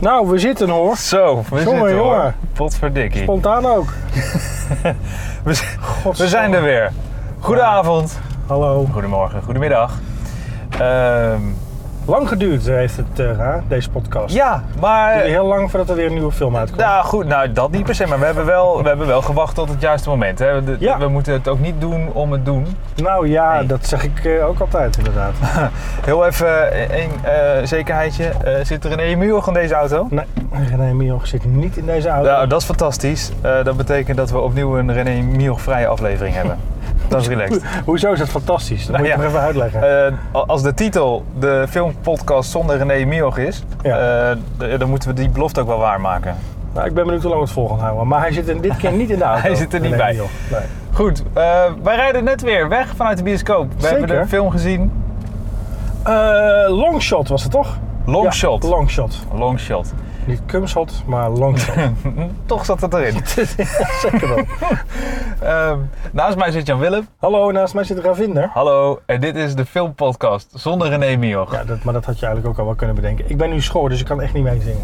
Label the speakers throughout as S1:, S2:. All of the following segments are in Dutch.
S1: Nou, we zitten hoor.
S2: Zo, we
S1: Jongen,
S2: zitten hoor.
S1: jongen.
S2: Potverdikkie.
S1: Spontaan ook.
S2: We, z- we zijn er weer. Goedenavond.
S1: Hallo.
S2: Goedemorgen, goedemiddag. Ehm,
S1: Lang geduurd heeft het, eh, hè, deze podcast.
S2: ja,
S1: Het
S2: maar...
S1: duurde heel lang voordat er weer een nieuwe film uitkomt.
S2: Nou goed, nou dat niet per se, maar we hebben wel, we hebben wel gewacht tot het juiste moment. Hè. De-
S1: Ja.
S2: We moeten het ook niet doen om het doen.
S1: Nou ja,
S2: Nee.
S1: dat zeg ik eh, ook altijd inderdaad.
S2: Heel even een eh, zekerheidje. Eh, zit er een EMU aan deze auto?
S1: nee, René Mioch zit niet in deze auto.
S2: Nou, dat is fantastisch. Eh, dat betekent dat we opnieuw een René Mioch vrije aflevering hebben. Dat is relaxed.
S1: Hoezo is dat fantastisch? Dat
S2: Nou
S1: moet je
S2: ja.
S1: nog even uitleggen.
S2: Eh, als de titel de filmpodcast zonder René Mioch is,
S1: Ja.
S2: eh, d- dan moeten we die belofte ook wel waarmaken.
S1: nou, ik ben benieuwd hoe lang we het vol gaan houden. Maar hij zit in dit keer niet in de auto.
S2: Hij zit er niet
S1: René
S2: bij.
S1: Mioch. Nee.
S2: Goed, eh, wij rijden net weer weg vanuit de bioscoop. We
S1: Zeker.
S2: hebben de film gezien,
S1: Eh, longshot was het toch?
S2: Longshot.
S1: Ja, longshot.
S2: Longshot.
S1: Niet cumshot, maar longshot.
S2: Toch zat het erin.
S1: Zeker wel.
S2: Eh, naast mij zit Jan Willem.
S1: Hallo, naast mij zit Ravinder.
S2: Hallo, en dit is de filmpodcast zonder René Mioch.
S1: Ja, dat, maar dat had je eigenlijk ook al wel kunnen bedenken. Ik ben nu schoor, dus ik kan echt niet meezingen.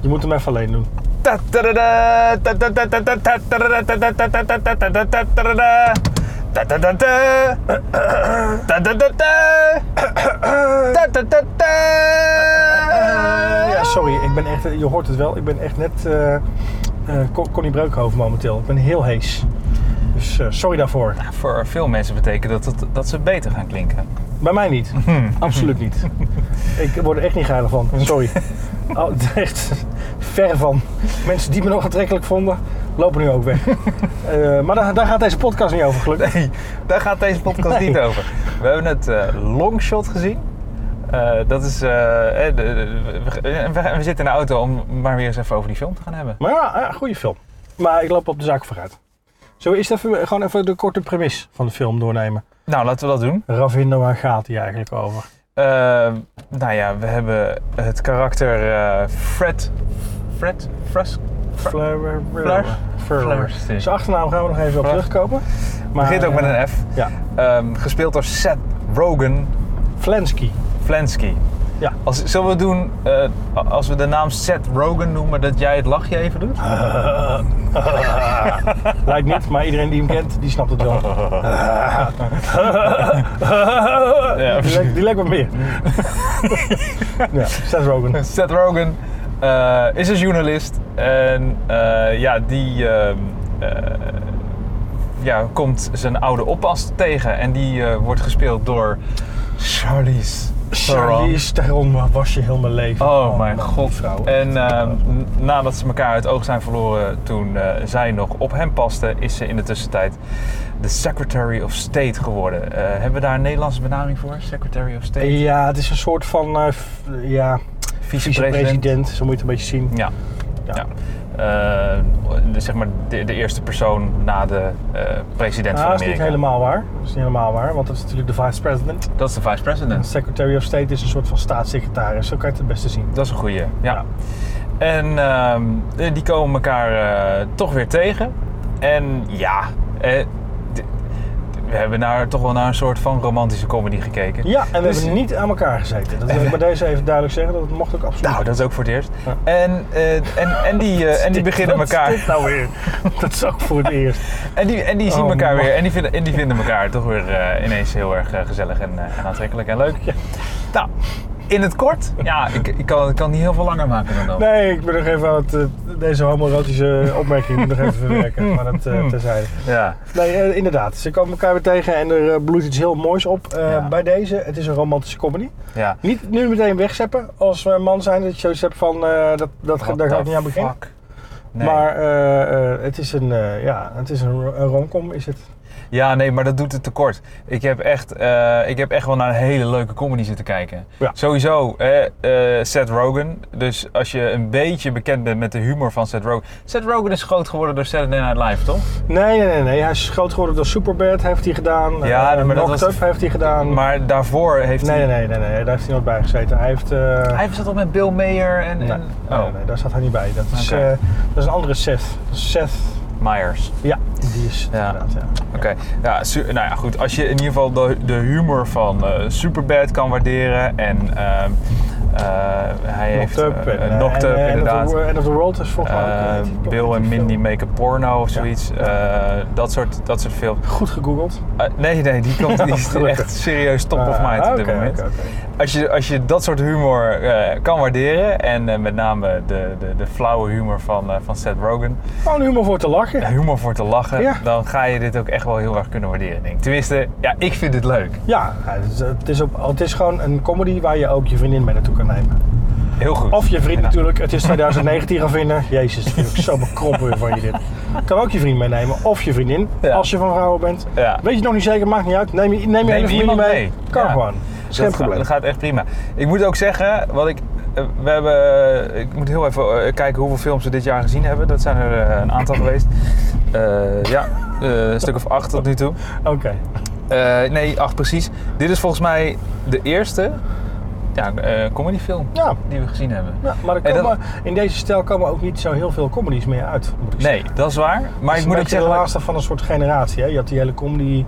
S1: Je moet hem even alleen doen.
S2: Ta- tadada, ta- ta- ta- ta- ta- ta- tadada, ta- ta- ta- ta- ta- ta- ta- ta- tadada. Ta- ta- ta- ta. Ta- ta- ta- ta. Ta- ta- ta- ta.
S1: Ja, sorry, ik ben echt, je hoort het wel. Ik ben echt net eh eh, Con- Connie Breukhoven momenteel. Ik ben heel hees. Dus eh, sorry daarvoor.
S2: Voor veel mensen betekent dat, dat dat ze beter gaan klinken.
S1: Bij mij niet. Absoluut niet. Ik word er echt niet geilig van. Sorry. Oh, echt ver van. Mensen die me nog aantrekkelijk vonden, lopen nu ook weg. Eh, maar daar, daar gaat deze podcast niet over, gelukkig.
S2: Nee, daar gaat deze podcast
S1: Nee.
S2: niet over. We hebben het eh, longshot gezien. Eh, dat is. eh, eh, de- de- we, we- we zitten in de auto om maar weer eens even over die film te gaan hebben.
S1: Maar ja, ja, goede film. Maar ik loop op de zaak vooruit. Zo eerst even, gewoon even de korte premis van de film doornemen.
S2: Nou, laten we dat doen.
S1: Ravinder, waar gaat hij eigenlijk over?
S2: Eh, nou ja, we hebben het karakter eh, Fred. Fred? Fres?
S1: Fleur-
S2: Fleur-
S1: Fleur.
S2: Fleur-
S1: Zijn achternaam gaan we nog even op
S2: Fleur-
S1: terugkomen. Maar,
S2: Begint ook met
S1: eh,
S2: een F.
S1: Ja,
S2: Ehm, gespeeld door Seth Rogen
S1: Flensky.
S2: Flansky.
S1: Ja.
S2: Als, zullen we doen, eh, als we de naam Seth Rogen noemen, dat jij het lachje even doet?
S1: Ah. Lijkt niet, maar iedereen die hem kent, die snapt het wel.
S2: Ja,
S1: die, lijkt, die lijkt wat meer. ja, Seth Rogen.
S2: Seth Rogen eh, is een journalist en eh, ja, die ehm, eh, ja, komt zijn oude oppas tegen en die eh, wordt gespeeld door Charlize Theron.
S1: Charlize Theron maar was je heel mijn leven.
S2: Oh, mijn god.
S1: vrouw.
S2: En eh, n- nadat ze elkaar uit oog zijn verloren toen eh, zij nog op hem paste, is ze in de tussentijd de Secretary of State geworden. Eh, hebben we daar een Nederlandse benaming voor? Secretary of State?
S1: Ja, het is een soort van eh, f- ja, vicepresident, zo moet je het een beetje zien.
S2: Ja. ja. Eh, de- zeg maar de, de eerste persoon na de eh, president
S1: Ah,
S2: van
S1: dat is niet
S2: Amerika.
S1: helemaal waar. Dat is niet helemaal waar, want dat is natuurlijk de vice president.
S2: Dat is de vice
S1: En
S2: president.
S1: secretary of state is een soort van staatssecretaris, zo kan je het het beste zien.
S2: Dat is een goeie, ja. En ehm, eh, die komen elkaar eh, toch weer tegen. En ja, eh, d- we hebben naar, toch wel naar een soort van romantische comedy gekeken.
S1: Ja, en we
S2: Dus-
S1: hebben niet aan elkaar gezeten. Dat wil ik bij deze even duidelijk zeggen, dat mocht ook absoluut.
S2: Nou, dat is ook voor het eerst.
S1: Ja.
S2: En, eh, en, en, die, eh, en die beginnen
S1: Wat is
S2: elkaar...
S1: dit nou weer? dat is ook voor het eerst.
S2: En die, en die zien
S1: Oh,
S2: elkaar
S1: man.
S2: weer. En die, vinden, en die vinden elkaar toch weer eh, ineens heel erg eh, gezellig en, eh, en aantrekkelijk en leuk. Nou, in het kort. Ja, ik, ik, kan, ik kan niet heel veel langer maken dan dat.
S1: Nee, ik ben nog even aan het, eh, deze homoerotische opmerking moet ik nog even verwerken, maar dat
S2: Hmm.
S1: eh terzijde.
S2: Ja.
S1: Nee, eh, inderdaad. Ze komen elkaar weer tegen en er eh, bloeit iets heel moois op eh,
S2: Ja.
S1: bij deze. Het is een romantische comedy.
S2: ja.
S1: Niet nu meteen wegzeppen als we een man zijn dat je zoiets hebt van eh, dat, dat,
S2: What
S1: daar ga
S2: the
S1: ik niet aan beginnen.
S2: fuck? Nee.
S1: Maar eh, eh, het is een, eh, ja, het is een, ro- een romcom is het.
S2: Ja, nee, maar dat doet het tekort. Ik heb echt, eh, ik heb echt wel naar een hele leuke comedy zitten kijken.
S1: Ja.
S2: Sowieso, hè, eh, Seth Rogen. Dus als je een beetje bekend bent met de humor van Seth Rogen. Seth Rogen is groot geworden door Saturday Night Live, toch?
S1: Nee, nee, nee, nee. Hij is groot geworden door Superbad, heeft hij gedaan.
S2: Ja,
S1: Eh,
S2: maar dat
S1: Knocked
S2: was-
S1: Up heeft hij gedaan.
S2: Maar daarvoor heeft
S1: Hm. Nee,
S2: hij...
S1: nee, nee, nee, nee, daar heeft hij nooit bij gezeten. Hij heeft... eh,
S2: Hij zat al met Bill Mayer en...
S1: Nee,
S2: en
S1: nee,
S2: oh,
S1: nee, nee, daar zat hij niet bij. Dat is,
S2: Oké.
S1: eh, dat is een andere Seth. Dat is Seth,
S2: Myers.
S1: ja, die is het
S2: Ja.
S1: inderdaad, ja.
S2: Oké, ja, su- nou ja, goed. Als je in ieder geval de, de humor van eh, Superbad kan waarderen en ehm, eh, hij
S1: Knocked
S2: heeft.
S1: Nocturne.
S2: eh,
S1: en-
S2: Nocturne,
S1: en- en
S2: inderdaad.
S1: End of the, End of the World is volgens mij ook, eh,
S2: Eh,
S1: die plek-
S2: Bill en
S1: die
S2: Mindy
S1: film.
S2: Make a Porno of
S1: Ja.
S2: zoiets. Eh, dat, soort, dat soort films.
S1: Goed gegoogeld.
S2: Eh, nee, nee, die, komt, die is
S1: Gelukkig.
S2: echt serieus top of mind
S1: Ah,
S2: op dit
S1: oké,
S2: moment.
S1: oké, oké.
S2: Als, je, als je dat soort humor eh, kan waarderen, en eh, met name de, de, de flauwe humor van, eh, van Seth Rogen,
S1: Gewoon humor voor te lachen.
S2: humor voor te lachen,
S1: Ja.
S2: dan ga je dit ook echt wel heel erg kunnen waarderen, denk ik. Tenminste, ja, ik vind het leuk.
S1: Ja, het is, het is op, het is gewoon een comedy waar je ook je vriendin mee naartoe kan nemen.
S2: Heel goed.
S1: Of je vriend
S2: Ja.
S1: natuurlijk, het is 2019 gaan vinden. Jezus, dat vind ik zo bekrompen weer van je dit. Kan ook je vriend meenemen, of je vriendin,
S2: Ja.
S1: als je van vrouwen bent.
S2: Ja.
S1: Weet je nog niet zeker, maakt niet uit. Neem je, neem je hele familie
S2: iemand
S1: mee.
S2: mee.
S1: Kan
S2: Ja.
S1: gewoon. Is geen
S2: dat, gaat,
S1: probleem.
S2: dat gaat echt prima. Ik moet ook zeggen, wat ik. eh, We hebben, eh, ik moet heel even eh, kijken hoeveel films we dit jaar gezien hebben. Dat zijn er eh, een aantal geweest. Eh, ja, eh, een stuk of acht tot nu toe.
S1: Oké.
S2: Eh, nee, acht precies. Dit is volgens mij de eerste ja, eh, comedyfilm
S1: Ja.
S2: die we gezien hebben.
S1: Ja, Nou, maar er
S2: En dat-
S1: komen, in deze stijl komen ook niet zo heel veel comedies meer uit. Moet ik zeggen.
S2: Nee, dat is waar. Maar
S1: Het is
S2: ik moet
S1: een
S2: ook
S1: beetje de
S2: zeggen. dat ik-
S1: laatste van een soort generatie. Hè? Je had die hele comedy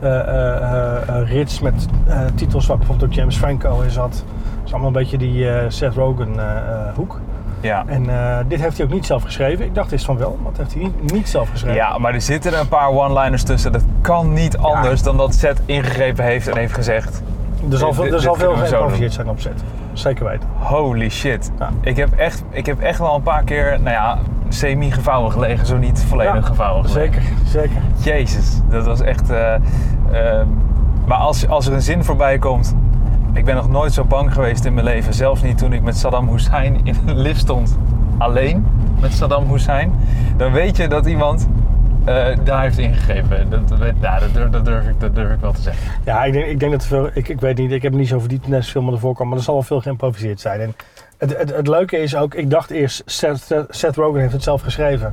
S1: eh, eh, eh, rits met eh, titels waar bijvoorbeeld ook James Franco in zat. Dat is allemaal een beetje die eh, Seth Rogen eh, eh, hoek.
S2: Ja.
S1: En eh, dit heeft hij ook niet zelf geschreven. Ik dacht eerst van wel, maar dat heeft hij niet, niet zelf geschreven.
S2: Ja, maar er zitten een paar one-liners tussen. Dat kan niet anders dan dat Seth ingegrepen heeft en heeft gezegd...
S1: er zal,
S2: dit-
S1: veel- er
S2: dit
S1: zal veel
S2: kunnen we zo
S1: geïmproviseerd zijn op set. Zeker weten.
S2: Holy shit.
S1: Ja.
S2: Ik, heb echt, ik heb echt wel een paar keer, nou ja, semi-gevouwen gelegen. Zo niet volledig
S1: Ja,
S2: gevouwen
S1: Zeker,
S2: gelegen.
S1: zeker.
S2: Jezus, dat was echt... eh, ehm, maar als, als er een zin voorbij komt... Ik ben nog nooit zo bang geweest in mijn leven. Zelfs niet toen ik met Saddam Hussein in een lift stond. Alleen met Saddam Hussein. Dan weet je dat iemand eh, daar heeft ingegrepen. Dat, dat, weet- nou, dat, durf, dat, durf ik, dat durf ik wel te zeggen.
S1: Ja, ik denk, ik denk dat er veel. Ik, ik weet niet, ik heb me niet zo verdiept in deze film ervoor kwam, maar er zal wel veel geïmproviseerd zijn. En het, het, het leuke is ook, ik dacht eerst, Seth, Seth Rogen heeft het zelf geschreven.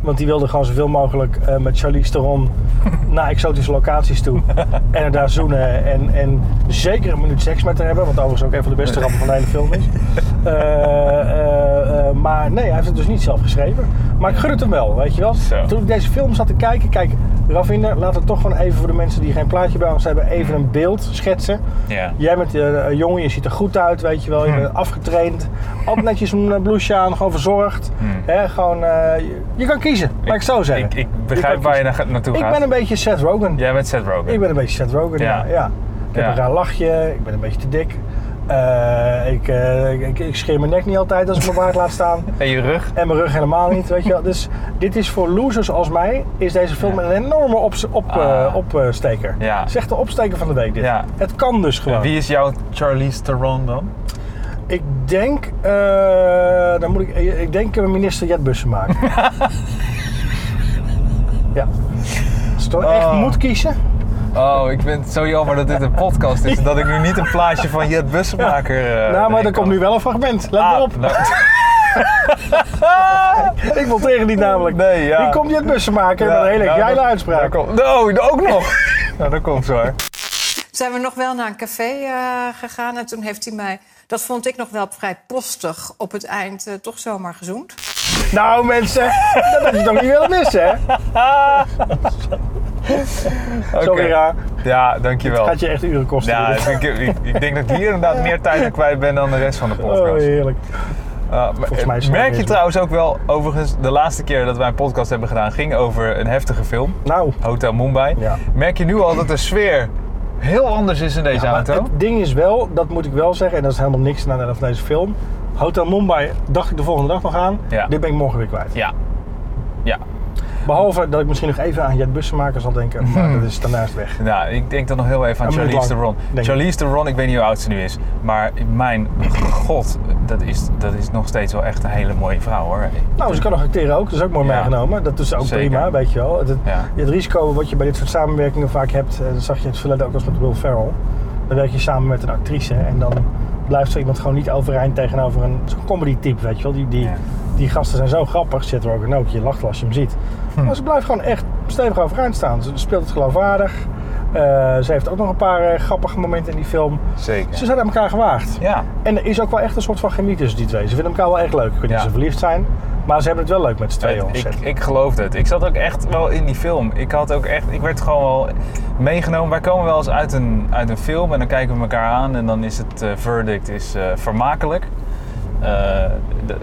S1: Want die wilde gewoon zoveel mogelijk eh, met Charlize Theron naar exotische locaties toe. En er daar zoenen en, en zeker een minuut seks met te hebben. Wat overigens ook een van de beste grappen van de hele film is. Eh, eh, eh, maar nee, hij heeft het dus niet zelf geschreven. Maar ik gun het hem wel, weet je wel.
S2: Zo.
S1: Toen ik deze film zat te kijken, kijk, Ravinder, laat het toch gewoon even voor de mensen die geen plaatje bij ons hebben, even een beeld schetsen.
S2: Ja.
S1: Jij bent eh, een jongen, je ziet er goed uit, weet je wel. Je bent afgetraind. Altijd netjes een eh, blouseje aan, gewoon verzorgd. Hè, gewoon, eh, je, je kan kiezen, laat ik het zo zeggen.
S2: Ik, ik
S1: Je
S2: begrijp
S1: kan
S2: waar je
S1: kiezen.
S2: na- naartoe
S1: Ik
S2: gaat.
S1: ben een beetje Seth Rogen.
S2: Jij bent Seth Rogen.
S1: Ik ben een beetje Seth Rogen, ja.
S2: Ja.
S1: ja. Ik heb
S2: Ja.
S1: een raar lachje, ik ben een beetje te dik. Eh, ik, eh, ik, ik, ik scheer mijn nek niet altijd als ik mijn baard laat staan.
S2: En je rug?
S1: En mijn rug helemaal niet, weet je wel. Dus dit is voor losers als mij, is deze film een enorme opsteker. Op, eh,
S2: Ah.
S1: opsteker.
S2: Ja.
S1: Het is echt de opsteker van de week dit.
S2: Ja.
S1: Het kan dus gewoon.
S2: Wie is jouw Charlize Theron dan?
S1: Ik denk, eh, dan moet ik, ik denk eh, minister Jetbussen maken. ja. Als ik toch echt
S2: Oh.
S1: moet kiezen,
S2: Oh, ik vind het zo jammer dat dit een podcast is. Dat ik nu niet een plaatje van Jet Bussemaker...
S1: nou
S2: eh,
S1: maar
S2: erin
S1: er komt
S2: kan.
S1: nu wel een fragment. Let maar
S2: Ah,
S1: op.
S2: nou,
S1: Ik wil tegen die namelijk.
S2: nee, ja.
S1: Die komt Jetbussen maken
S2: Ja,
S1: met een hele
S2: nou,
S1: geile
S2: dat-
S1: uitspraak.
S2: daar komt- Oh, ook nog! nou, dat komt zo. hè.
S3: zijn we nog wel naar een café eh, gegaan. En toen heeft hij mij, dat vond ik nog wel vrij postig op het eind, eh, toch zomaar gezoend.
S1: Nou mensen, dat had je toch niet willen missen hè? Sorry
S2: Oké.
S1: raar.
S2: Ja, dankjewel.
S1: Gaat je echt uren kosten. Oh,
S2: Ja,
S1: dit.
S2: ik, ik, ik denk dat ik hier inderdaad meer tijd aan kwijt ben dan de rest van de
S1: Oh,
S2: podcast.
S1: heerlijk.
S2: Uh, maar, eh,
S1: mij is het
S2: merk je
S1: wel
S2: trouwens ook wel, overigens, de laatste keer dat wij een podcast hebben gedaan ging over een heftige film,
S1: Nou,
S2: Hotel Mumbai.
S1: Ja.
S2: Merk je nu al dat de sfeer heel anders is in deze
S1: maar
S2: auto?
S1: het ding is wel, dat moet ik wel zeggen, en dat is helemaal niks naar van deze film. Hotel Mumbai dacht ik de volgende dag nog aan.
S2: Ja.
S1: Dit ben ik morgen weer kwijt.
S2: Ja. Ja.
S1: Behalve dat ik misschien nog even aan Jet Bussenmaker zal denken, maar
S2: Hmm.
S1: dat is daarnaast weg.
S2: Nou, ik denk dan nog heel even aan
S1: Een minuut
S2: Charlize
S1: lang,
S2: Theron.
S1: denk ik.
S2: Charlize Theron, ik weet niet hoe oud ze nu is, maar mijn god, dat is, dat is nog steeds wel echt een hele mooie vrouw hoor.
S1: Nou, ze kan nog acteren ook, dat is ook mooi
S2: Ja.
S1: meegenomen. Dat is ook
S2: Zeker.
S1: prima, weet je wel. Het, het-
S2: Ja.
S1: het risico wat je bij dit soort samenwerkingen vaak hebt, eh, dat zag je in het verleden ook als met Will Ferrell. Dan werk je samen met een actrice en dan blijft zo iemand gewoon niet overeind tegenover een zo'n comedy type, weet je wel. Die, die,
S2: Ja.
S1: die gasten zijn zo grappig, zit er ook een ook, je lacht als je hem ziet.
S2: Hmm.
S1: Maar ze blijft gewoon echt stevig overeind staan. Ze speelt het geloofwaardig. Eh, ze heeft ook nog een paar eh, grappige momenten in die film. Ze
S2: Zeker.
S1: zijn aan elkaar gewaagd.
S2: Ja.
S1: En er is ook wel echt een soort van chemie tussen die twee. Ze vinden elkaar wel echt leuk. Ik weet niet
S2: Ja.
S1: of ze verliefd zijn, maar ze hebben het wel leuk met z'n tweeën
S2: Het- ik,
S1: ontzettend.
S2: ik geloofde het. Ik zat ook echt wel in die film. Ik had ook echt, ik werd gewoon wel meegenomen. Wij komen wel eens uit een, uit een film en dan kijken we elkaar aan en dan is het eh, verdict is eh, vermakelijk. eh, de-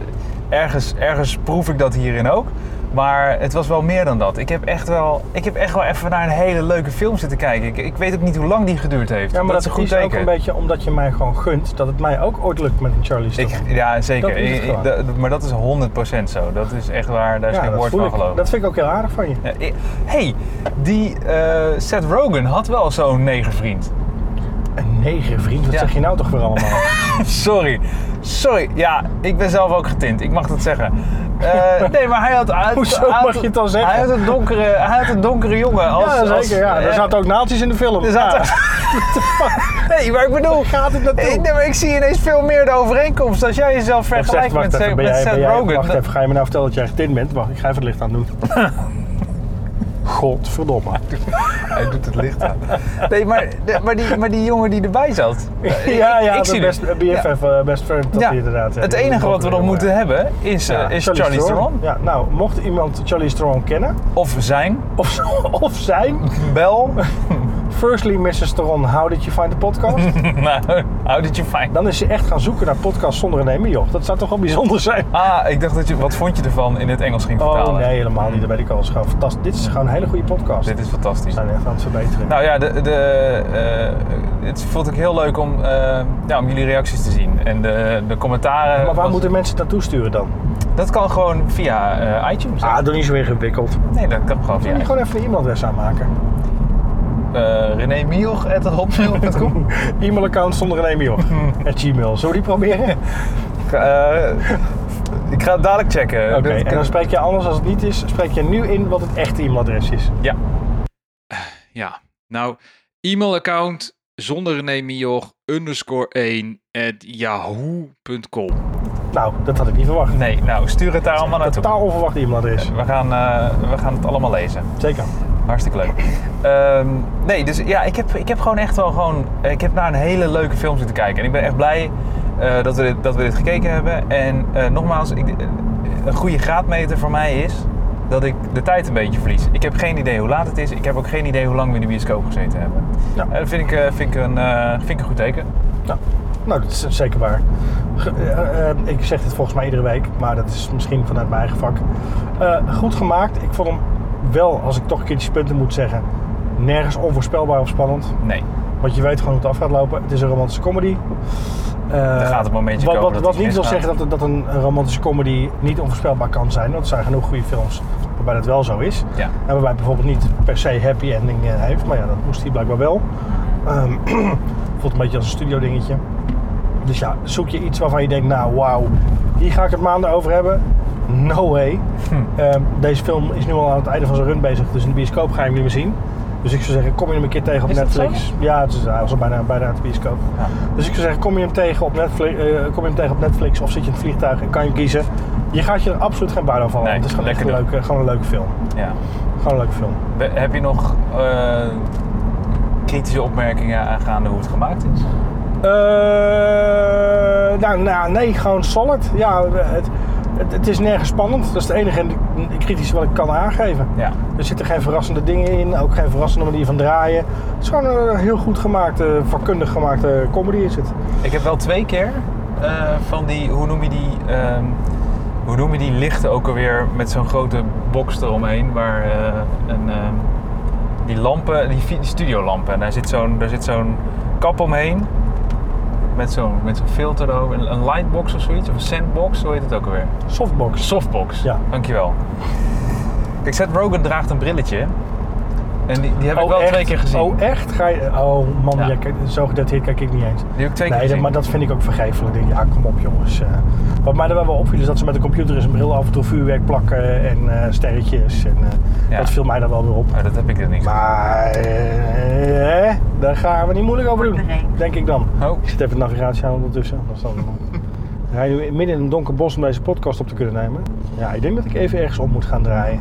S2: ergens, ergens proef ik dat hierin ook. Maar het was wel meer dan dat. Ik heb echt wel, ik heb echt wel even naar een hele leuke film zitten kijken. Ik, ik weet ook niet hoe lang die geduurd heeft.
S1: Ja, maar dat,
S2: is een
S1: is
S2: goed
S1: ook
S2: teken.
S1: een beetje omdat je mij gewoon gunt dat het mij ook ooit lukt met een Charlie Stone.
S2: Ik, ja, zeker.
S1: Dat is het
S2: Ik- ik-
S1: gewoon.
S2: dat- maar dat is 100% zo. Dat is echt waar. Daar is geen
S1: dat
S2: woord
S1: voel
S2: van
S1: ik.
S2: geloof
S1: Dat vind ik ook heel aardig van je.
S2: Ja, i- hey, die eh, Seth Rogen had wel zo'n negervriend.
S1: Een negen vriend, wat
S2: Ja.
S1: zeg je nou toch weer allemaal?
S2: Sorry. Sorry. Ja, ik ben zelf ook getint. Ik mag dat zeggen. Eh, nee, maar hij had... hij had-
S1: Hoezo
S2: hij had-
S1: mag je het dan zeggen?
S2: Hij had een donkere, hij had een donkere jongen. Als,
S1: ja,
S2: als-
S1: zeker. Ja.
S2: eh,
S1: Er zaten ook naaltjes in de film.
S2: er zaten- Nee, maar ik bedoel...
S1: Gaat het naartoe?
S2: Ik, nee, maar ik zie ineens veel meer de overeenkomst. Als jij jezelf
S1: Wacht,
S2: vergelijkt
S1: wacht
S2: met,
S1: even,
S2: met
S1: ben jij,
S2: Seth
S1: ben jij-
S2: Rogen...
S1: Wacht
S2: dan-
S1: even, ga je me nou vertellen dat jij getint bent? Wacht, ik ga even het licht aan doen. Godverdomme.
S2: Hij doet het licht aan. Nee, maar, de- maar, die, maar die jongen die erbij zat.
S1: ja, ja,
S2: ik
S1: de
S2: zie
S1: best,
S2: het.
S1: BFF, eh, best friend, dat hij inderdaad. ja,
S2: het
S1: die
S2: enige wat we nog
S1: jongen.
S2: moeten hebben is, eh,
S1: Ja,
S2: is Charlie, Theron.
S1: Ja, nou, mocht iemand Charlie Theron kennen,
S2: Of zijn.
S1: of, of zijn,
S2: Bel.
S1: firstly Mrs. Theron, how did you find the podcast?
S2: nou, how did you find
S1: Dan is ze echt gaan zoeken naar podcast zonder een Emmy, joh. Dat zou toch wel bijzonder zijn?
S2: Ah, ik dacht dat je... Wat vond je ervan in het Engels ging vertalen?
S1: Oh nee, helemaal niet. Dat weet ik al. Het is gewoon fantastisch. Dit is gewoon een hele goede podcast.
S2: Dit is fantastisch.
S1: We zijn echt aan het verbeteren.
S2: Nou ja, de, de, eh, het vond ik heel leuk om, eh, ja, om jullie reacties te zien. En de, de commentaren...
S1: maar waar
S2: was-
S1: moeten mensen het naartoe sturen dan?
S2: Dat kan gewoon via eh, iTunes. hè?
S1: Ah, doe niet zo ingewikkeld.
S2: Nee, dat kan gewoon via
S1: Kun je
S2: iTunes.
S1: gewoon even een e-mailadres aanmaken?
S2: Eh, René Mioch at hotmail.com.
S1: E-mailaccount zonder een e-mail. At Gmail. Zullen we die proberen?
S2: Eh, ik ga het dadelijk checken.
S1: Oké,
S2: Dat
S1: en
S2: kan-
S1: dan spreek je anders als het niet is, spreek je nu in wat het echte e-mailadres is.
S2: Ja.
S4: Ja, nou, e-mailaccount zonder René Mioch, underscore 1 at yahoo.com.
S1: Nou, dat had ik niet verwacht.
S2: Nee, nou, stuur het daar allemaal naartoe.
S1: Totaal onverwacht e-mailadres.
S2: We gaan, eh, we gaan het allemaal lezen.
S1: Zeker.
S2: Hartstikke leuk. Ehm, nee, dus ja, ik heb, ik heb gewoon echt wel gewoon... Ik heb naar een hele leuke film zitten kijken. En ik ben echt blij eh, dat, we dit, dat we dit gekeken hebben. En eh, nogmaals, ik, eh, een goede graadmeter voor mij is dat ik de tijd een beetje verlies. Ik heb geen idee hoe laat het is. Ik heb ook geen idee hoe lang we in de bioscoop gezeten hebben.
S1: Ja.
S2: Eh, dat vind ik, eh, vind, ik een, eh, vind ik een goed teken.
S1: Nou, nou, dat is zeker waar. Ge- eh, eh, ik zeg dit volgens mij iedere week, maar dat is misschien vanuit mijn eigen vak. Eh, goed gemaakt. Ik vond hem wel, als ik toch kritische punten moet zeggen, nergens onvoorspelbaar of spannend.
S2: Nee.
S1: Want je weet gewoon hoe het af gaat lopen. Het is een romantische comedy. Eh,
S2: gaat het momentje
S1: wat,
S2: komen
S1: Wat,
S2: dat
S1: wat
S2: iets
S1: niet wil
S2: misgaat.
S1: zeggen dat, het- dat een romantische comedy niet onvoorspelbaar kan zijn. Want er zijn genoeg goede films waarbij dat wel zo is.
S2: Ja.
S1: En waarbij het bijvoorbeeld niet per se happy ending eh, heeft. Maar ja, dat moest hij blijkbaar wel. Ehm, voelt een beetje als een studio dingetje. Dus ja, zoek je iets waarvan je denkt, nou wauw, hier ga ik het maanden over hebben. No way.
S2: Hm.
S1: Ehm, deze film is nu al aan het einde van zijn run bezig, dus in de bioscoop ga je hem niet meer zien. Dus ik zou zeggen, kom je hem een keer tegen op
S2: Is dat
S1: Netflix. Ja, het is, eh, hij was al bijna, bijna uit de bioscoop.
S2: Ja.
S1: Dus ik zou zeggen, kom je, hem tegen op Netflix, kom je hem tegen op Netflix of zit je in het vliegtuig en kan je hem kiezen. Je gaat je er absoluut geen buiten van.
S2: Nee,
S1: halen. het is gewoon, echt
S2: lekker
S1: een
S2: doen.
S1: leuke, gewoon een leuke film.
S2: ja.
S1: Gewoon een leuke film.
S2: We- Heb je nog eh, kritische opmerkingen aangaande hoe het gemaakt is?
S1: Eh, nou, nou, nee, gewoon solid. Ja, het, het, het is nergens spannend. Dat is het enige kritische wat ik kan aangeven.
S2: Ja.
S1: Er zitten geen verrassende dingen in, ook geen verrassende manier van draaien. Het is gewoon een heel goed gemaakte, vakkundig gemaakte comedy is het.
S2: Ik heb wel twee keer eh, van die, hoe noem je die, ehm, hoe noem je die lichten ook alweer met zo'n grote box eromheen, waar eh, een, ehm, die lampen, die, vi- die studiolampen, en daar zit zo'n, daar zit zo'n kap omheen. Met zo'n met zo'n filter erover, een, een lightbox of zoiets, of een sandbox, hoe heet het ook alweer?
S1: Softbox.
S2: Softbox,
S1: Ja.
S2: dankjewel. Kijk, Seth Rogen draagt een brilletje. En die, die heb ik wel
S1: echt?
S2: twee keer gezien.
S1: Oh, echt? Ga je... Oh, man,
S2: Ja.
S1: jij kijkt- zo gedetailleerd kijk ik niet eens.
S2: Die heb ik twee
S1: Nee,
S2: keer
S1: dat-
S2: gezien.
S1: maar dat vind ik ook vergeeflijk. Ik Denk, ja, kom op jongens. Eh, wat mij er wel wel opviel is dat ze met de computer in zijn bril af en toe vuurwerk plakken en eh, sterretjes. En, eh,
S2: Ja.
S1: Dat viel mij dan wel weer op.
S2: Oh, dat heb ik er niet.
S1: Maar eh, daar gaan we niet moeilijk over doen, denk ik dan.
S2: Oh,
S1: Ik zit even het navigatie aan ondertussen. Anders dan, rij nu midden in een donker bos om deze podcast op te kunnen nemen. Ja, ik denk dat ik even ergens om moet gaan draaien.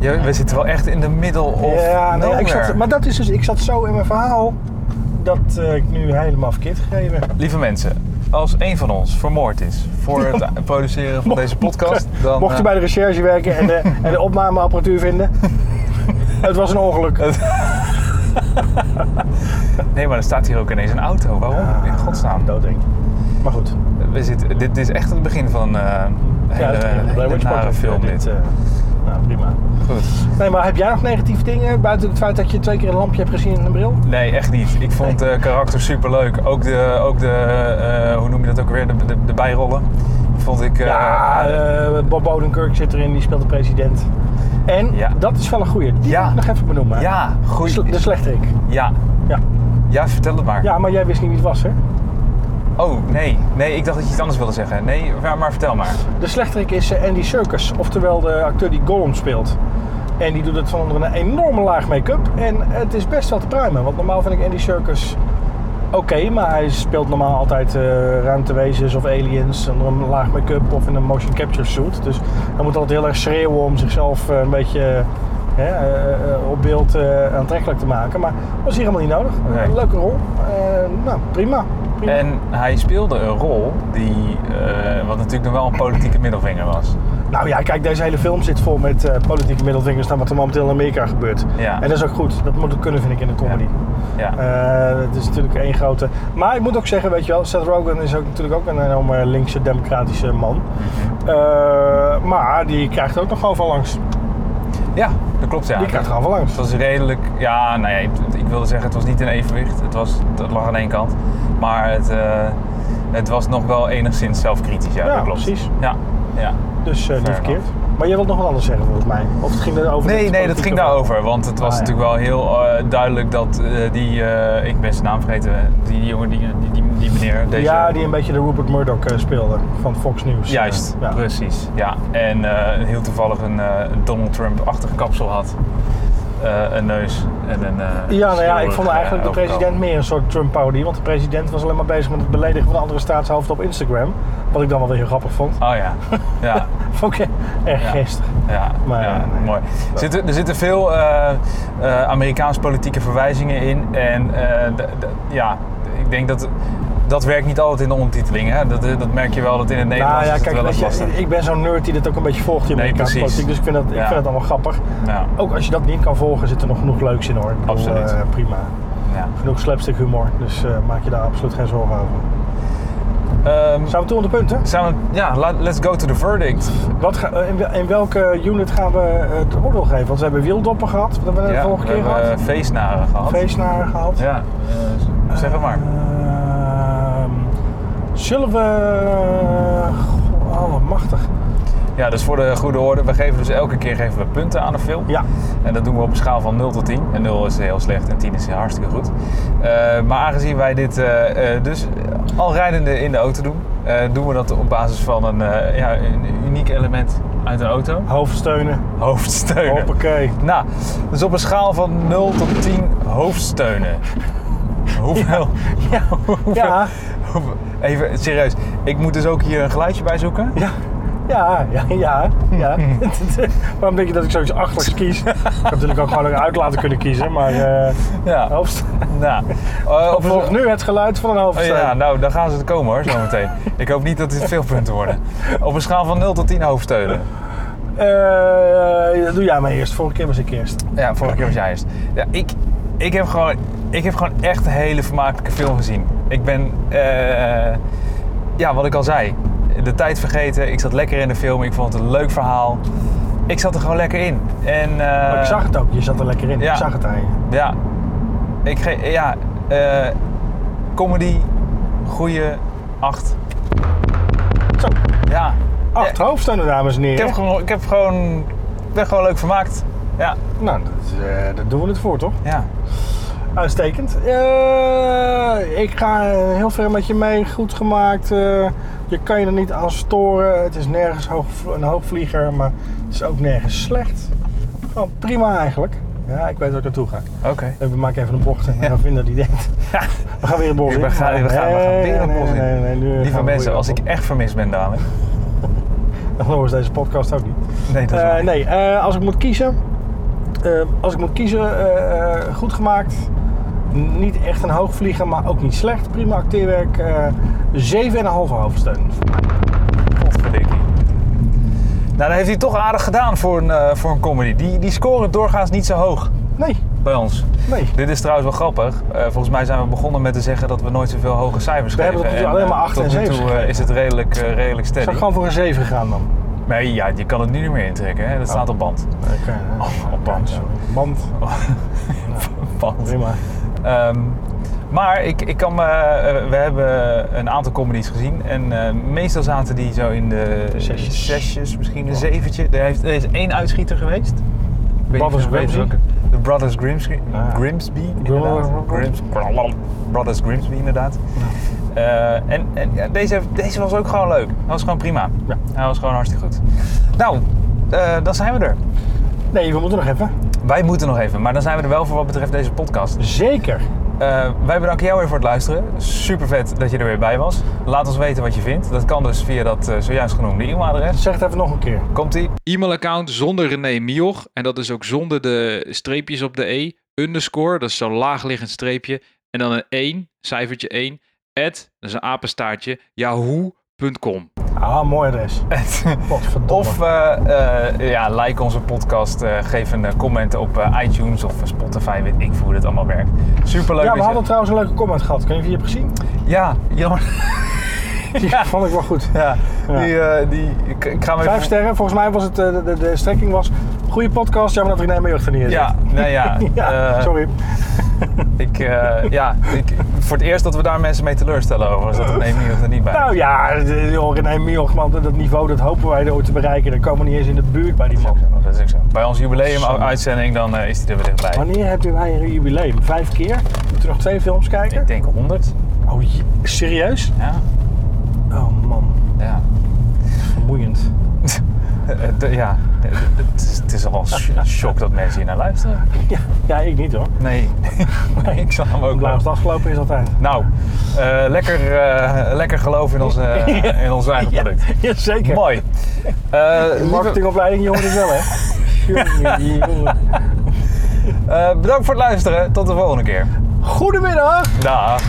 S2: ja, we zitten wel echt in de middle of
S1: ja, nee, ik zat,
S2: nowhere.
S1: maar dat is dus, ik zat zo in mijn verhaal dat eh, ik nu helemaal verkeerd gegeven heb.
S2: Lieve mensen, als een van ons vermoord is voor het produceren van deze podcast, dan. eh,
S1: Mocht je bij de recherche werken en de, en de opnameapparatuur vinden, het was een ongeluk.
S2: eh, Nee, maar er staat hier ook ineens een auto. Waarom? In godsnaam.
S1: Doodeng. Maar goed,
S2: We, we zitten, dit is echt het begin van eh, een
S1: Ja, dat
S2: hele,
S1: kan.
S2: hele
S1: Blair Witch
S2: nare
S1: Project,
S2: film
S1: eh,
S2: dit.
S1: eh, nou, prima.
S2: Goed.
S1: Nee, maar heb jij nog negatieve dingen? Buiten het feit dat je twee keer een lampje hebt gezien in een bril?
S2: Nee, echt niet. Ik vond de karakter super leuk. Ook de, ook de eh, hoe noem je dat ook weer, de, de, de bijrollen. Vond ik. eh,
S1: ja, eh, Bob Odenkirk zit erin, die speelt de president. En
S2: Ja.
S1: dat is wel een goeie. Die
S2: Ja.
S1: moet ik nog even benoemen.
S2: ja,
S1: De sle-
S2: goed.
S1: De slechterik.
S2: Ja.
S1: Ja.
S2: ja, vertel het maar.
S1: ja, maar jij wist niet wie het was, hè?
S2: Oh, nee. Nee, ik dacht dat je iets anders wilde zeggen. Nee, maar, maar vertel maar.
S1: De slechterik is eh, Andy Serkis, oftewel de acteur die Gollum speelt. En die doet het van onder een enorme laag make-up. En het is best wel te pruimen, want normaal vind ik Andy Serkis oké, maar hij speelt normaal altijd eh, ruimtewezens of aliens onder een laag make-up of in een motion capture suit. Dus hij moet altijd heel erg schreeuwen om zichzelf eh, een beetje eh, hè, eh, eh, op beeld eh, aantrekkelijk te maken. Maar was hier helemaal niet nodig.
S2: Nee.
S1: Een leuke rol. Eh, nou, prima. prima.
S2: En hij speelde een rol die, eh, wat natuurlijk nog wel een politieke middelvinger was.
S1: Nou ja, kijk, deze hele film zit vol met eh, politieke middelvingers naar wat er momenteel in Amerika gebeurt.
S2: Ja.
S1: En dat is ook goed. Dat moet ook kunnen, vind ik, in de comedy.
S2: Ja.
S1: Eh, het is natuurlijk één grote... Maar ik moet ook zeggen, weet je wel, Seth Rogen is ook, natuurlijk ook een enorme linkse democratische man.
S2: Mhm.
S1: Eh, maar die krijgt ook nog gewoon van langs.
S2: ja, dat klopt ja.
S1: die krijgt gewoon van langs.
S2: Het was redelijk, ja, nou ja, ik, ik wilde zeggen, het was niet in evenwicht. Het, was, het lag aan één kant. Maar het, eh, het was nog wel enigszins zelfkritisch, ja,
S1: Ja,
S2: dat klopt.
S1: precies.
S2: Ja, ja.
S1: Dus eh, niet
S2: Fair
S1: verkeerd. Maar jij wilt nog wat anders zeggen, volgens mij. Of het ging erover... het
S2: Nee, nee, dat
S1: politieke
S2: ging
S1: verhaal.
S2: daarover. Want het was
S1: Ah, ja.
S2: natuurlijk wel heel eh, duidelijk dat eh, die, eh, ik ben zijn naam vergeten, die, jongen, die, die, die, die meneer, deze...
S1: Ja, die een beetje de Rupert Murdoch eh, speelde van Fox News.
S2: Juist,
S1: Ja.
S2: precies. Ja. En eh, heel toevallig een eh, Donald Trump-achtig kapsel had. Eh, een neus en een. eh,
S1: Ja, nou ja, ik
S2: schreeuwerig,
S1: vond eigenlijk
S2: eh,
S1: de
S2: overkant.
S1: president meer een soort Trump-parodie. Want de president was alleen maar bezig met het beledigen van de andere staatshoofden op Instagram. Wat ik dan wel weer heel grappig vond.
S2: Oh ja, ja,
S1: Vond ik erg
S2: Ja.
S1: geestig.
S2: ja,
S1: Maar
S2: ja,
S1: ja, nee.
S2: mooi. Er zitten, er zitten veel eh, eh, Amerikaans politieke verwijzingen in. En eh, d- d- ja, ik denk dat dat werkt niet altijd in de ondertiteling. Hè? Dat, dat merk je wel dat in het Nederlands
S1: nou ja,
S2: is het
S1: kijk,
S2: wel eens
S1: weet je,
S2: lastig.
S1: ik ben zo'n nerd die dit ook een beetje volgt in
S2: Nee,
S1: Amerikaanse
S2: precies.
S1: politiek. Dus ik vind, dat, ik
S2: Ja.
S1: vind dat allemaal grappig.
S2: Ja,
S1: Ook als je dat niet kan volgen, zit er nog genoeg leuks in hoor. Ik bedoel,
S2: Absoluut.
S1: eh, prima.
S2: ja.
S1: Genoeg slapstick humor. Dus eh, maak je daar absoluut geen zorgen over.
S2: Ehm,
S1: Zijn we toe aan de punten?
S2: zijn we- ja, la- let's go to the verdict.
S1: Wat ga- eh, in, wel- in welke unit gaan we eh, het oordeel geven? Want we hebben wieldoppen gehad. Wat hebben we de
S2: Ja,
S1: vorige
S2: we
S1: keer
S2: hebben,
S1: gehad?
S2: eh, feestnaren gehad.
S1: Feestnaren gehad.
S2: Ja, eh, zeg het maar.
S1: Ehm, zullen we. Goh, Oh, wat machtig.
S2: Ja, dus voor de goede orde, we geven dus elke keer geven we punten aan een film.
S1: Ja.
S2: En dat doen we op een schaal van 0 tot 10. En 0 is heel slecht en 10 is hartstikke goed. Eh, maar aangezien wij dit eh, eh, dus al rijdende in de auto doen, eh, doen we dat op basis van een, eh, ja, een uniek element uit de auto.
S1: Hoofdsteunen.
S2: Hoofdsteunen.
S1: Hoppakee.
S2: Nou, dus op een schaal van 0 tot 10 hoofdsteunen. Hoeveel? Ja. hoeveel-
S1: Ja.
S2: hoeveel- Even serieus, ik moet dus ook hier een geluidje bij zoeken.
S1: Ja. Ja, ja, ja. ja. Waarom denk je dat ik zoiets achterlijks kies? Ik had natuurlijk ook gewoon uit laten kunnen kiezen, maar. eh
S2: Ja.
S1: hoofdst-
S2: Nou, eh, op
S1: Volg nu het geluid van een
S2: Oh
S1: hoofdsteun.
S2: ja, nou, daar gaan ze te komen hoor, zometeen. Ik hoop niet dat dit veel punten worden. Op een schaal van 0 tot 10 hoofdsteunen.
S1: Eh, doe jij maar eerst. Vorige keer was ik eerst.
S2: Ja, vorige keer was jij eerst. Ja, ik, ik, heb gewoon, ik heb gewoon echt een hele vermakelijke film gezien. Ik ben, eh, ja, wat ik al zei, de tijd vergeten. Ik zat lekker in de film, ik vond het een leuk verhaal. Ik zat er gewoon lekker in. En, eh,
S1: Maar ik zag het ook. Je zat er lekker in.
S2: ja.
S1: Ik zag het aan je.
S2: Ja, ik ge ja eh, comedy, goede 8.
S1: Zo.
S2: Ja.
S1: Acht
S2: Ja,
S1: hoofdsteunen, dames en
S2: ik,
S1: heren.
S2: heb gewoon, ik heb gewoon, ik ben gewoon leuk vermaakt. Ja,
S1: Nou, dat, is, eh, daar doen we het voor, toch?
S2: ja.
S1: Uitstekend. Eh, ik ga heel ver met je mee. Goed gemaakt. Eh, je kan je er niet aan storen. Het is nergens hoog, een hoogvlieger, maar het is ook nergens slecht. Gewoon prima eigenlijk. Ja, ik weet waar ik naartoe ga.
S2: Oké.
S1: Eh, We maken even een bocht en we gaan vinden die denkt.
S2: Ja.
S1: We gaan weer een bocht
S2: We
S1: in.
S2: gaan, we gaan, we gaan
S1: Nee,
S2: weer een
S1: nee,
S2: bos in.
S1: nee, nee, nu gaan
S2: Lieve
S1: we
S2: mensen,
S1: weer
S2: als ik
S1: op.
S2: echt vermist ben dadelijk.
S1: Dan horen ze deze podcast ook niet.
S2: Nee, dat is
S1: Eh,
S2: waar.
S1: nee, eh, als ik moet kiezen. eh, als ik moet kiezen, eh, eh, goed gemaakt. N- Niet echt een hoogvlieger, maar ook niet slecht. Prima acteerwerk. eh 7,5 hoofdsteun.
S2: Potverdikkie. Nou, dat heeft hij toch aardig gedaan voor een, eh, voor een comedy. Die, die scoren doorgaans niet zo hoog.
S1: Nee,
S2: bij ons.
S1: Nee.
S2: Dit is trouwens wel grappig. Eh, volgens mij zijn we begonnen met te zeggen dat we nooit zoveel hoge cijfers
S1: We hebben
S2: geven.
S1: tot nu toe alleen maar
S2: eh,
S1: acht en
S2: tot nu
S1: zevens
S2: toe eh, is het redelijk, eh, redelijk
S1: Zou
S2: steady.
S1: ik gewoon voor een 7 gegaan dan?
S2: Nee, ja, je kan het nu niet meer intrekken. Hè? Dat staat op band. Oh, op band.
S1: eh, Band.
S2: band.
S1: Prima.
S2: Ehm, maar ik, ik kan me, eh, we hebben een aantal comedies gezien. En eh, meestal zaten die zo in de
S1: Zesjes.
S2: zesjes, misschien een zeventje. Er, heeft, er is één uitschieter geweest. Ik weet
S1: Brothers
S2: niet of- weet je
S1: Grimsby.
S2: welke. De Brothers Grimsby.
S1: Ah.
S2: Grimsby inderdaad. Grims, Brothers Grimsby inderdaad. Eh, en en ja, deze, deze was ook gewoon leuk. Hij was gewoon prima.
S1: Ja.
S2: Hij was gewoon hartstikke goed. Nou, eh, dan zijn we er.
S1: Nee, we moeten nog even.
S2: Wij moeten nog even, maar dan zijn we er wel voor wat betreft deze podcast.
S1: Zeker.
S2: Eh, wij bedanken jou weer voor het luisteren. Super vet dat je er weer bij was. Laat ons weten wat je vindt. Dat kan dus via dat eh, zojuist genoemde e-mailadres.
S1: Zeg het even nog een keer.
S2: Komt-ie?
S4: E-mailaccount zonder René Mioch. En dat is ook zonder de streepjes op de E. Underscore, dat is zo'n laagliggend streepje. En dan een 1, cijfertje 1. At, dat is een apenstaartje, yahoo.com.
S1: Ah, mooi adres. Godverdomme.
S2: Of eh, eh, ja, like onze podcast. eh, geef een eh, comment op eh, iTunes of Spotify. Weet ik hoe het allemaal werkt. Super leuk.
S1: ja, we hadden trouwens een leuke comment gehad. Kun je die hebben gezien?
S2: Ja, jammer.
S1: Die
S2: Ja.
S1: vond ik wel goed.
S2: Ja, Die, eh, die, ik, ik ga hem even...
S1: Vijf sterren. Volgens mij was het, eh, de, de, de strekking was, goede podcast, jammer dat René Meeuwig er niet in
S2: Ja,
S1: zit.
S2: nou ja.
S1: ja
S2: eh,
S1: sorry.
S2: Ik, eh, ja ik, voor het eerst dat we daar mensen mee teleurstellen over. Is dat er neem er niet bij. is.
S1: Nou ja, de- joh, René Mioch, man, dat niveau dat hopen wij er ooit te bereiken. Dan komen we niet eens in de buurt bij die man.
S2: Dat is ook zo. Bij ons jubileum-uitzending dan eh, is hij er weer dichtbij.
S1: Wanneer hebben wij een jubileum? Vijf keer? Moeten we nog twee films kijken?
S2: Ik denk 100.
S1: Oh, je- serieus?
S2: Ja.
S1: Oh man,
S2: Ja.
S1: vermoeiend.
S2: Eh, de- ja. Eh, Het is, het is al een shock dat mensen hier naar luisteren.
S1: Ja, ja ik niet hoor.
S2: Nee. nee ik zal hem ook
S1: Hoe laat
S2: wel.
S1: het afgelopen is altijd.
S2: Nou, eh, lekker, eh, lekker geloof in ons, eh, in ons eigen product.
S1: Jazeker.
S2: Mooi. Eh,
S1: De
S2: lieve-
S1: marketingopleiding, jongen, is wel hè. Jongen, jongen.
S2: eh, bedankt voor het luisteren. Tot de volgende keer.
S1: Goedemiddag!
S2: Dag.